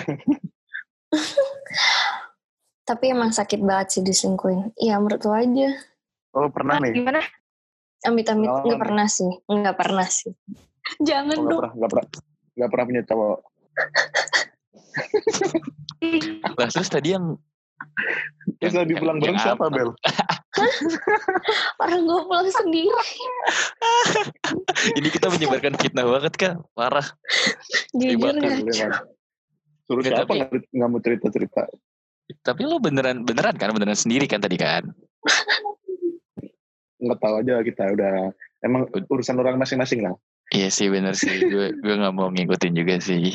Speaker 1: Tapi emang sakit banget sih diselingkuhin. Iya, menurut lu aja.
Speaker 2: oh pernah nih
Speaker 4: Ah, Gimana?
Speaker 1: Amit-amit
Speaker 2: Pengalaman
Speaker 1: nggak
Speaker 2: nih.
Speaker 1: pernah sih. Nggak pernah sih. Jangan
Speaker 2: Oh, nggak
Speaker 1: dong.
Speaker 2: pernah nggak pernah nggak pernah punya cowok
Speaker 3: Lah terus tadi yang
Speaker 2: terus
Speaker 3: Yang-
Speaker 2: tadi pulang
Speaker 3: yang-
Speaker 2: bareng
Speaker 3: yang
Speaker 2: siapa
Speaker 3: Iya. apa?
Speaker 2: bel
Speaker 1: Orang gue pulang sendiri.
Speaker 3: ini kita menyebarkan fitnah banget kan parah
Speaker 1: Jujur
Speaker 3: Ribet,
Speaker 1: nggak?
Speaker 2: Beneran. suruh
Speaker 3: Nggak,
Speaker 2: siapa
Speaker 3: tapi-
Speaker 2: nggak nggak mau cerita cerita
Speaker 3: tapi lo beneran beneran kan beneran sendiri kan tadi kan
Speaker 2: nggak tahu aja kita udah emang urusan orang masing-masing lah
Speaker 3: iya sih bener sih gue gue nggak mau ngikutin juga sih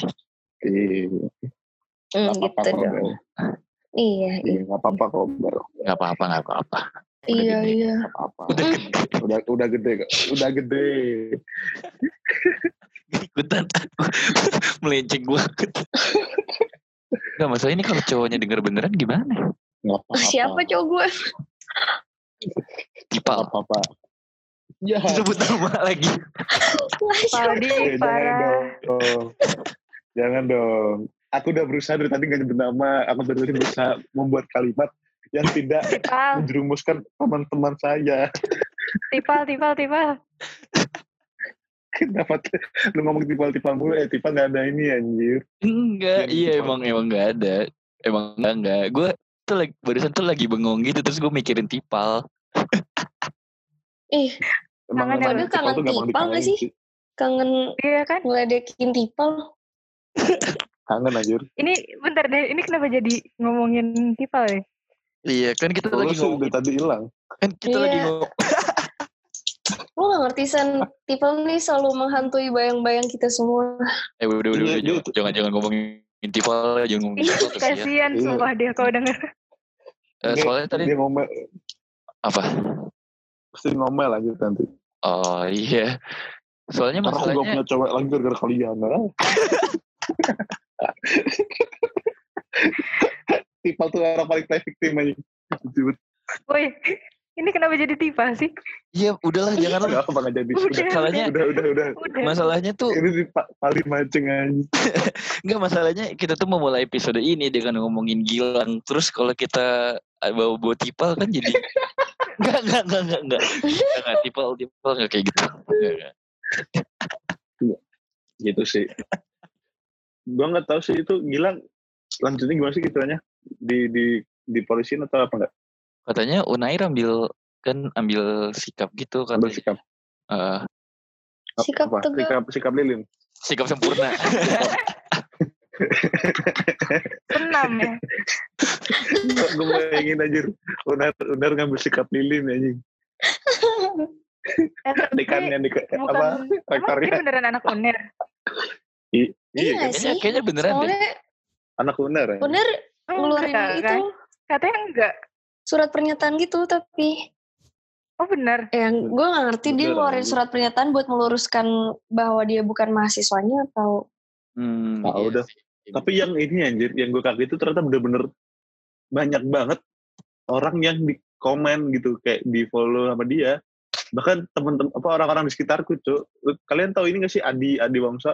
Speaker 2: Iya,
Speaker 1: Hmm,
Speaker 2: nggak apa-apa
Speaker 1: gitu
Speaker 2: kok
Speaker 1: dong.
Speaker 2: Bel.
Speaker 1: Iya,
Speaker 2: Iya, nggak apa-apa kok Bel.
Speaker 3: nggak apa-apa nggak apa-apa
Speaker 1: iya,
Speaker 3: gini.
Speaker 1: iya.
Speaker 2: Nggak apa-apa
Speaker 3: udah gede
Speaker 2: udah udah gede kok. udah gede
Speaker 3: ikutan [LAUGHS] melenceng gue nggak masalah ini kalau cowoknya denger beneran gimana
Speaker 2: nggak apa-apa
Speaker 1: Siapa cowok gue?
Speaker 2: nggak
Speaker 3: tipal
Speaker 2: apa-apa ya
Speaker 3: sebut nama lagi
Speaker 2: eh,
Speaker 4: Padi,
Speaker 2: jangan
Speaker 4: Farah.
Speaker 2: dong jangan dong aku udah berusaha dari tadi nggak nyebut nama aku dari tadi berusaha membuat kalimat yang tidak
Speaker 4: [LAUGHS] Tipal,
Speaker 2: menjerumuskan teman-teman saya [LAUGHS]
Speaker 4: tipal, tipal, tipal.
Speaker 2: kenapa t- lu ngomong tipal-tipal mulu eh tipal nggak ada ini anjir
Speaker 3: enggak
Speaker 2: Yang
Speaker 3: iya
Speaker 2: tipal.
Speaker 3: emang emang nggak ada emang nggak nggak gue tuh lagi, barusan tuh lagi bengong gitu terus gue mikirin tipal
Speaker 1: Ih,
Speaker 2: emang
Speaker 4: Kangen ya,
Speaker 2: emang
Speaker 1: lu
Speaker 2: tipal tuh
Speaker 1: kangen tipal
Speaker 2: gampang
Speaker 1: nggak
Speaker 2: dikangenin
Speaker 1: sih?
Speaker 2: sih
Speaker 1: kangen
Speaker 4: Iya kan?
Speaker 1: ngeledekin tipal.
Speaker 2: kangen anjir
Speaker 4: Ini bentar deh, ini kenapa jadi ngomongin tipal ya?
Speaker 3: iya kan kita
Speaker 2: Kalau
Speaker 3: lagi
Speaker 2: sih
Speaker 3: ngomong
Speaker 2: udah tadi hilang
Speaker 3: kan kita lagi
Speaker 1: Iya.
Speaker 3: ngomong
Speaker 1: Lu gak ngerti, Sen. Tipal nih selalu menghantui bayang-bayang kita
Speaker 2: [LAUGHS]
Speaker 1: semua.
Speaker 3: Eh udah udah
Speaker 2: Iya,
Speaker 3: udah
Speaker 2: dia
Speaker 3: jangan
Speaker 2: tuh-
Speaker 3: jangan, jangan ngomongin Tifa jangan ngomongin
Speaker 4: Ih,
Speaker 3: Tifa terus ya.
Speaker 4: kasihan
Speaker 2: Iya.
Speaker 4: sumpah dia kalau denger.
Speaker 3: Eh,
Speaker 2: Dia-
Speaker 3: soalnya tadi
Speaker 2: dia ngomel
Speaker 3: apa?
Speaker 2: pasti ngomel lanjut nanti
Speaker 3: Oh iya. Soalnya
Speaker 2: karena aku gak
Speaker 3: masalahnya
Speaker 2: punya cewek lagi gara-gara kalian ah. tipal tuh orang paling play victim aja
Speaker 4: Woi, ini kenapa jadi tipal sih?
Speaker 3: iya udahlah janganlah.
Speaker 2: Gak apa nggak jadi
Speaker 4: Udah,
Speaker 2: udah
Speaker 3: Iya, Masalahnya
Speaker 2: udah udah udah
Speaker 4: udah.
Speaker 3: masalahnya tuh
Speaker 2: ini di- pa- paling mancing aja
Speaker 3: enggak masalahnya kita tuh memulai episode ini dengan ngomongin Gilang. Terus kalau kita eh, bawa bawa Tipal kan
Speaker 1: [LAUGHS]
Speaker 3: jadi enggak enggak enggak enggak enggak. Enggak, enggak, Tipal Tipal enggak kayak gitu. Enggak, enggak.
Speaker 2: gitu sih gue nggak tahu sih itu Gilang lanjutnya gimana sih gituannya di di di polisiin atau apa enggak
Speaker 3: Katanya Unair ambil kan ambil sikap gitu Eh, kan
Speaker 2: ambil sikap
Speaker 1: Sikap tegak.
Speaker 2: sikap sikap lilin
Speaker 3: sikap
Speaker 2: [LAUGHS]
Speaker 3: sempurna
Speaker 4: Senam
Speaker 2: [LAUGHS]
Speaker 4: ya.
Speaker 2: gue bayangin anjir unar unar ngambil sikap lilin anjing
Speaker 4: Eh, tapi
Speaker 2: dekannya dekan ya,
Speaker 4: bukan
Speaker 2: apa
Speaker 4: emang dia
Speaker 2: rektornya
Speaker 4: beneran anak uner.
Speaker 1: Iya
Speaker 2: iya
Speaker 1: nggak
Speaker 3: kayaknya-
Speaker 1: sih?
Speaker 3: kayaknya beneran deh.
Speaker 1: Soalnya
Speaker 2: anak unar ya
Speaker 1: bener ngeluarin
Speaker 4: Enggak,
Speaker 1: itu
Speaker 4: kan? Katanya enggak.
Speaker 1: surat pernyataan gitu tapi
Speaker 4: Oh bener.
Speaker 1: yang gue nggak ngerti dia
Speaker 2: Bener,
Speaker 1: ngeluarin
Speaker 2: anjir.
Speaker 1: surat pernyataan buat meluruskan bahwa dia bukan mahasiswanya atau
Speaker 3: Hmm,
Speaker 2: Ah, udah.
Speaker 3: sih.
Speaker 2: Tapi yang ini anjir, yang gue kaget itu ternyata bener-bener banyak banget orang yang di komen gitu kayak di follow sama dia. Bahkan temen-temen apa orang-orang di sekitarku, Cuk. Lu- Kalian tahu ini gak sih Adi Adi Wangsa?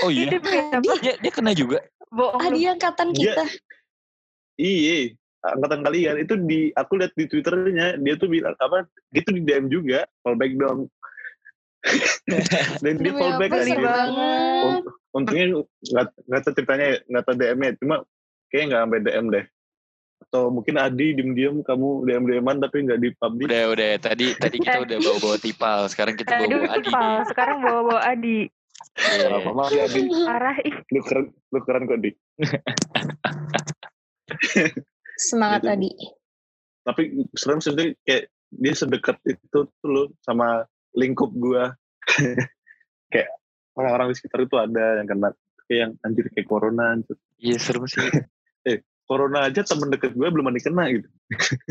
Speaker 3: Oh iya.
Speaker 4: Itu dia apa?
Speaker 3: Dia, dia kena juga.
Speaker 4: Bohong.
Speaker 1: Ah,
Speaker 4: lu.
Speaker 1: dia angkatan
Speaker 2: Dia-
Speaker 1: kita.
Speaker 2: Iya, angkatan kalian itu di aku lihat di twitternya dia tuh bilang apa? Dia tuh di DM juga fallback dong. Dan dia
Speaker 1: Demi
Speaker 2: fallback
Speaker 1: apa
Speaker 4: kan
Speaker 1: sih
Speaker 2: anjir.
Speaker 4: dia?
Speaker 2: Oh.
Speaker 1: banget.
Speaker 3: Ah.
Speaker 2: Untungnya nggak nggak tahu ceritanya nggak tahu DM-nya, cuma kayaknya nggak sampai DM deh. Atau mungkin Adi diem-diem kamu DM DMan tapi nggak di publish.
Speaker 3: Udah udah tadi tadi kita udah bawa-bawa tipal, sekarang kita
Speaker 4: Nah, dulu
Speaker 3: bawa-bawa Adi.
Speaker 4: tipal, sekarang bawa-bawa Adi.
Speaker 3: Iya.
Speaker 2: Apa apa Adi,
Speaker 4: Parah ih.
Speaker 2: lu keren, lu keren kok di.
Speaker 1: Semangat
Speaker 2: Gitu.
Speaker 1: tadi.
Speaker 2: Tapi serem sendiri kayak dia sedekat itu tuh lo sama lingkup gua. [LAUGHS] kayak orang-orang di sekitar itu ada yang kena kayak yang anjir kayak corona anjir.
Speaker 3: Iya serem sih.
Speaker 2: corona aja temen deket gue belum ada yang kena gitu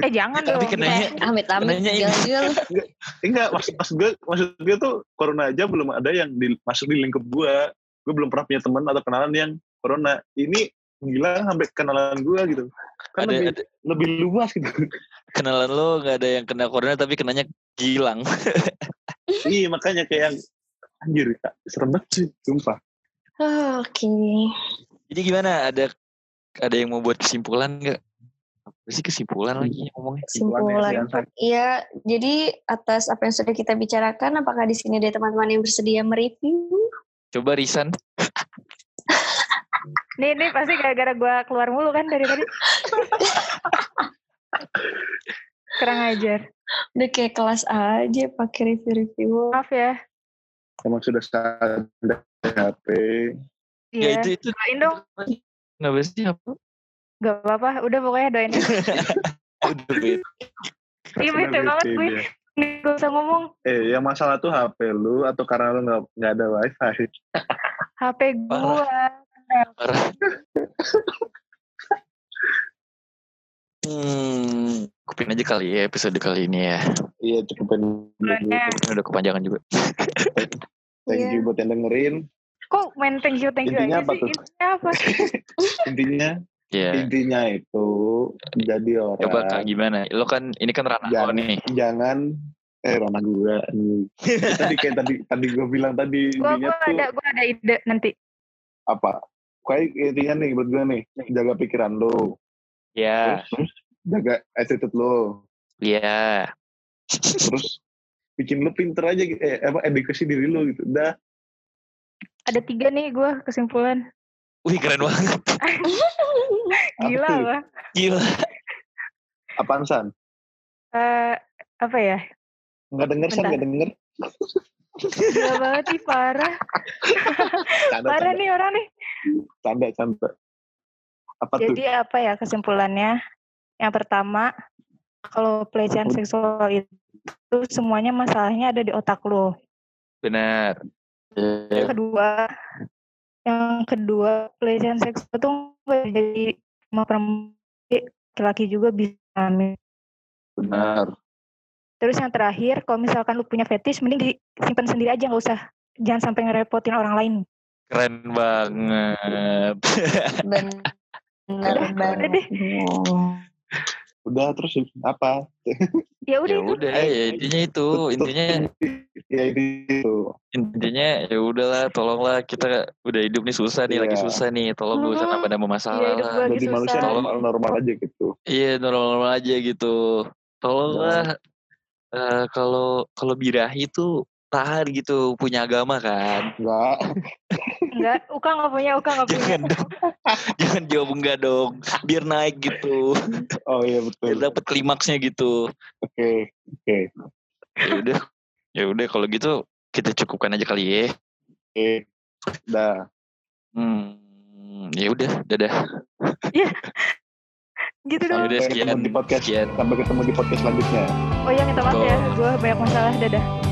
Speaker 4: Eh jangan
Speaker 3: Tapi
Speaker 4: dong.
Speaker 3: kenanya
Speaker 1: Eh, Amit-amit.
Speaker 3: Nanya ini.
Speaker 1: Jalan-jalan.
Speaker 2: enggak maksud, maksud gue maksud gue tuh corona aja belum ada yang di- masuk di lingkup gue gue belum pernah punya teman atau kenalan yang corona ini gila sampai kenalan gue gitu kan
Speaker 3: ada,
Speaker 2: lebih,
Speaker 3: ada
Speaker 2: lebih luas [LAUGHS] gitu
Speaker 3: kenalan lo nggak ada yang kena corona tapi kenanya gilang.
Speaker 2: iya makanya kayak yang anjir Kak, serem banget sih sumpah
Speaker 1: Ah, Oke.
Speaker 3: [LAUGHS] Jadi gimana? Ada ada yang mau buat kesimpulan nggak? Apa sih kesimpulan lagi yang ngomongnya?
Speaker 1: Simpulan.
Speaker 2: Kesimpulan
Speaker 1: Iya, jadi atas apa yang sudah kita bicarakan, apakah di sini ada teman-teman yang bersedia mereview?
Speaker 3: Coba Risan.
Speaker 4: Nih nih pasti gara-gara gue keluar mulu kan dari tadi. Kurang ajar.
Speaker 1: Udah kayak kelas aja pakai review-review.
Speaker 4: [LAUGHS] Maaf ya.
Speaker 2: emang sudah standar HP
Speaker 3: Ya
Speaker 4: Iya.
Speaker 3: itu itu
Speaker 4: Doain dong.
Speaker 3: nggak sih apa?
Speaker 4: Gak apa-apa. Udah pokoknya doain.
Speaker 2: [LAUGHS]
Speaker 3: Udah Bet.
Speaker 4: Iya bete banget gue.
Speaker 2: Iya.
Speaker 4: Gak usah ngomong.
Speaker 2: eh yang masalah tuh HP lu atau karena lu nggak nggak ada wifi
Speaker 4: HP gue.
Speaker 3: Hmm, kupin aja kali ya episode kali ini ya.
Speaker 2: iya cukupin dulu.
Speaker 4: Bulannya.
Speaker 3: Ini udah kepanjangan juga.
Speaker 2: thank
Speaker 4: iya.
Speaker 2: you buat yang dengerin
Speaker 4: Kok main thank you thank you
Speaker 2: Intinya
Speaker 4: aja
Speaker 2: apa
Speaker 4: sih?
Speaker 2: tuh? [LAUGHS]
Speaker 4: Intinya apa?
Speaker 2: intinya
Speaker 3: Iya.
Speaker 2: intinya itu jadi
Speaker 3: Coba kak
Speaker 2: orang
Speaker 3: gimana? Lo kan ini kan ranah lo
Speaker 2: Jangan.
Speaker 3: nih.
Speaker 2: jangan eh Rona gue nih. tadi kayak tadi tadi gue bilang tadi
Speaker 4: Gue
Speaker 2: intinya
Speaker 4: gua
Speaker 2: tuh
Speaker 4: ada gua ada ide nanti.
Speaker 2: apa kayak intinya nih buat gue nih jaga pikiran lo
Speaker 3: Iya.
Speaker 2: terus jaga attitude lo
Speaker 3: Iya.
Speaker 2: terus bikin lo pinter aja gitu. eh, apa edukasi diri lo gitu udah
Speaker 4: Ada tiga nih gue kesimpulan.
Speaker 3: Wih keren banget.
Speaker 2: Apa
Speaker 4: Gila
Speaker 2: tuh?
Speaker 4: lah.
Speaker 3: Gila.
Speaker 2: apaan san
Speaker 4: Eh apa ya?
Speaker 2: nggak denger san
Speaker 4: Bentar.
Speaker 2: nggak denger
Speaker 4: Gila banget sih parah.
Speaker 2: canda
Speaker 4: Parah
Speaker 2: canda
Speaker 4: nih orang nih.
Speaker 2: canda, canda. apa tuh
Speaker 4: Jadi apa ya kesimpulannya? Yang pertama, kalau pelecehan seksual itu semuanya masalahnya ada di otak lo.
Speaker 3: Benar. Iya.
Speaker 2: Iya.
Speaker 4: Yang kedua, yang kedua pelecehan seksual itu nggak jadi sama perempuan, laki juga bisa ngalamin.
Speaker 2: benar
Speaker 4: Terus yang terakhir, kalau misalkan lu punya fetish, mending disimpan sendiri aja nggak usah. Jangan sampai ngerepotin orang lain.
Speaker 3: Keren banget.
Speaker 1: Benar
Speaker 2: Udah,
Speaker 1: banget.
Speaker 4: deh.
Speaker 2: udah terus apa
Speaker 4: Ya
Speaker 3: ya
Speaker 4: udah itu.
Speaker 3: udah, ya intinya itu, intinya
Speaker 2: ya itu
Speaker 3: intinya ya udahlah, tolonglah kita udah hidup nih susah nih, lagi
Speaker 2: Iya.
Speaker 3: susah nih, tolong gak usah
Speaker 4: Hmm.
Speaker 3: nambah-nambah masalah.
Speaker 4: Iya, hidup
Speaker 3: lah.
Speaker 4: gua lagi
Speaker 2: jadi manusia
Speaker 4: susah.
Speaker 2: normal normal aja gitu
Speaker 3: Iya normal-normal aja gitu. Tolonglah
Speaker 2: Iya.
Speaker 3: eh, kalau kalau birahi tuh tahan gitu punya agama kan.
Speaker 4: [LAUGHS]
Speaker 2: enggak
Speaker 4: Enggak, Uka nggak punya, Uka nggak punya.
Speaker 2: [LAUGHS]
Speaker 3: Jangan dong. Jangan jawab enggak dong. Biar naik gitu.
Speaker 2: oh iya betul
Speaker 3: Biar dapat klimaksnya gitu.
Speaker 2: oke oke
Speaker 3: Ya udah. Ya udah kalau gitu kita cukupkan aja kali ya.
Speaker 2: oke dah
Speaker 3: Hmm. Ya udah, dadah.
Speaker 4: Gitu
Speaker 3: Ya
Speaker 4: dong.
Speaker 3: udah
Speaker 2: Sampai ketemu
Speaker 3: sekian.
Speaker 2: di podcast.
Speaker 3: Sekian.
Speaker 2: sampai ketemu di podcast selanjutnya
Speaker 4: Oh iya minta maaf ya, gue banyak masalah. Dadah.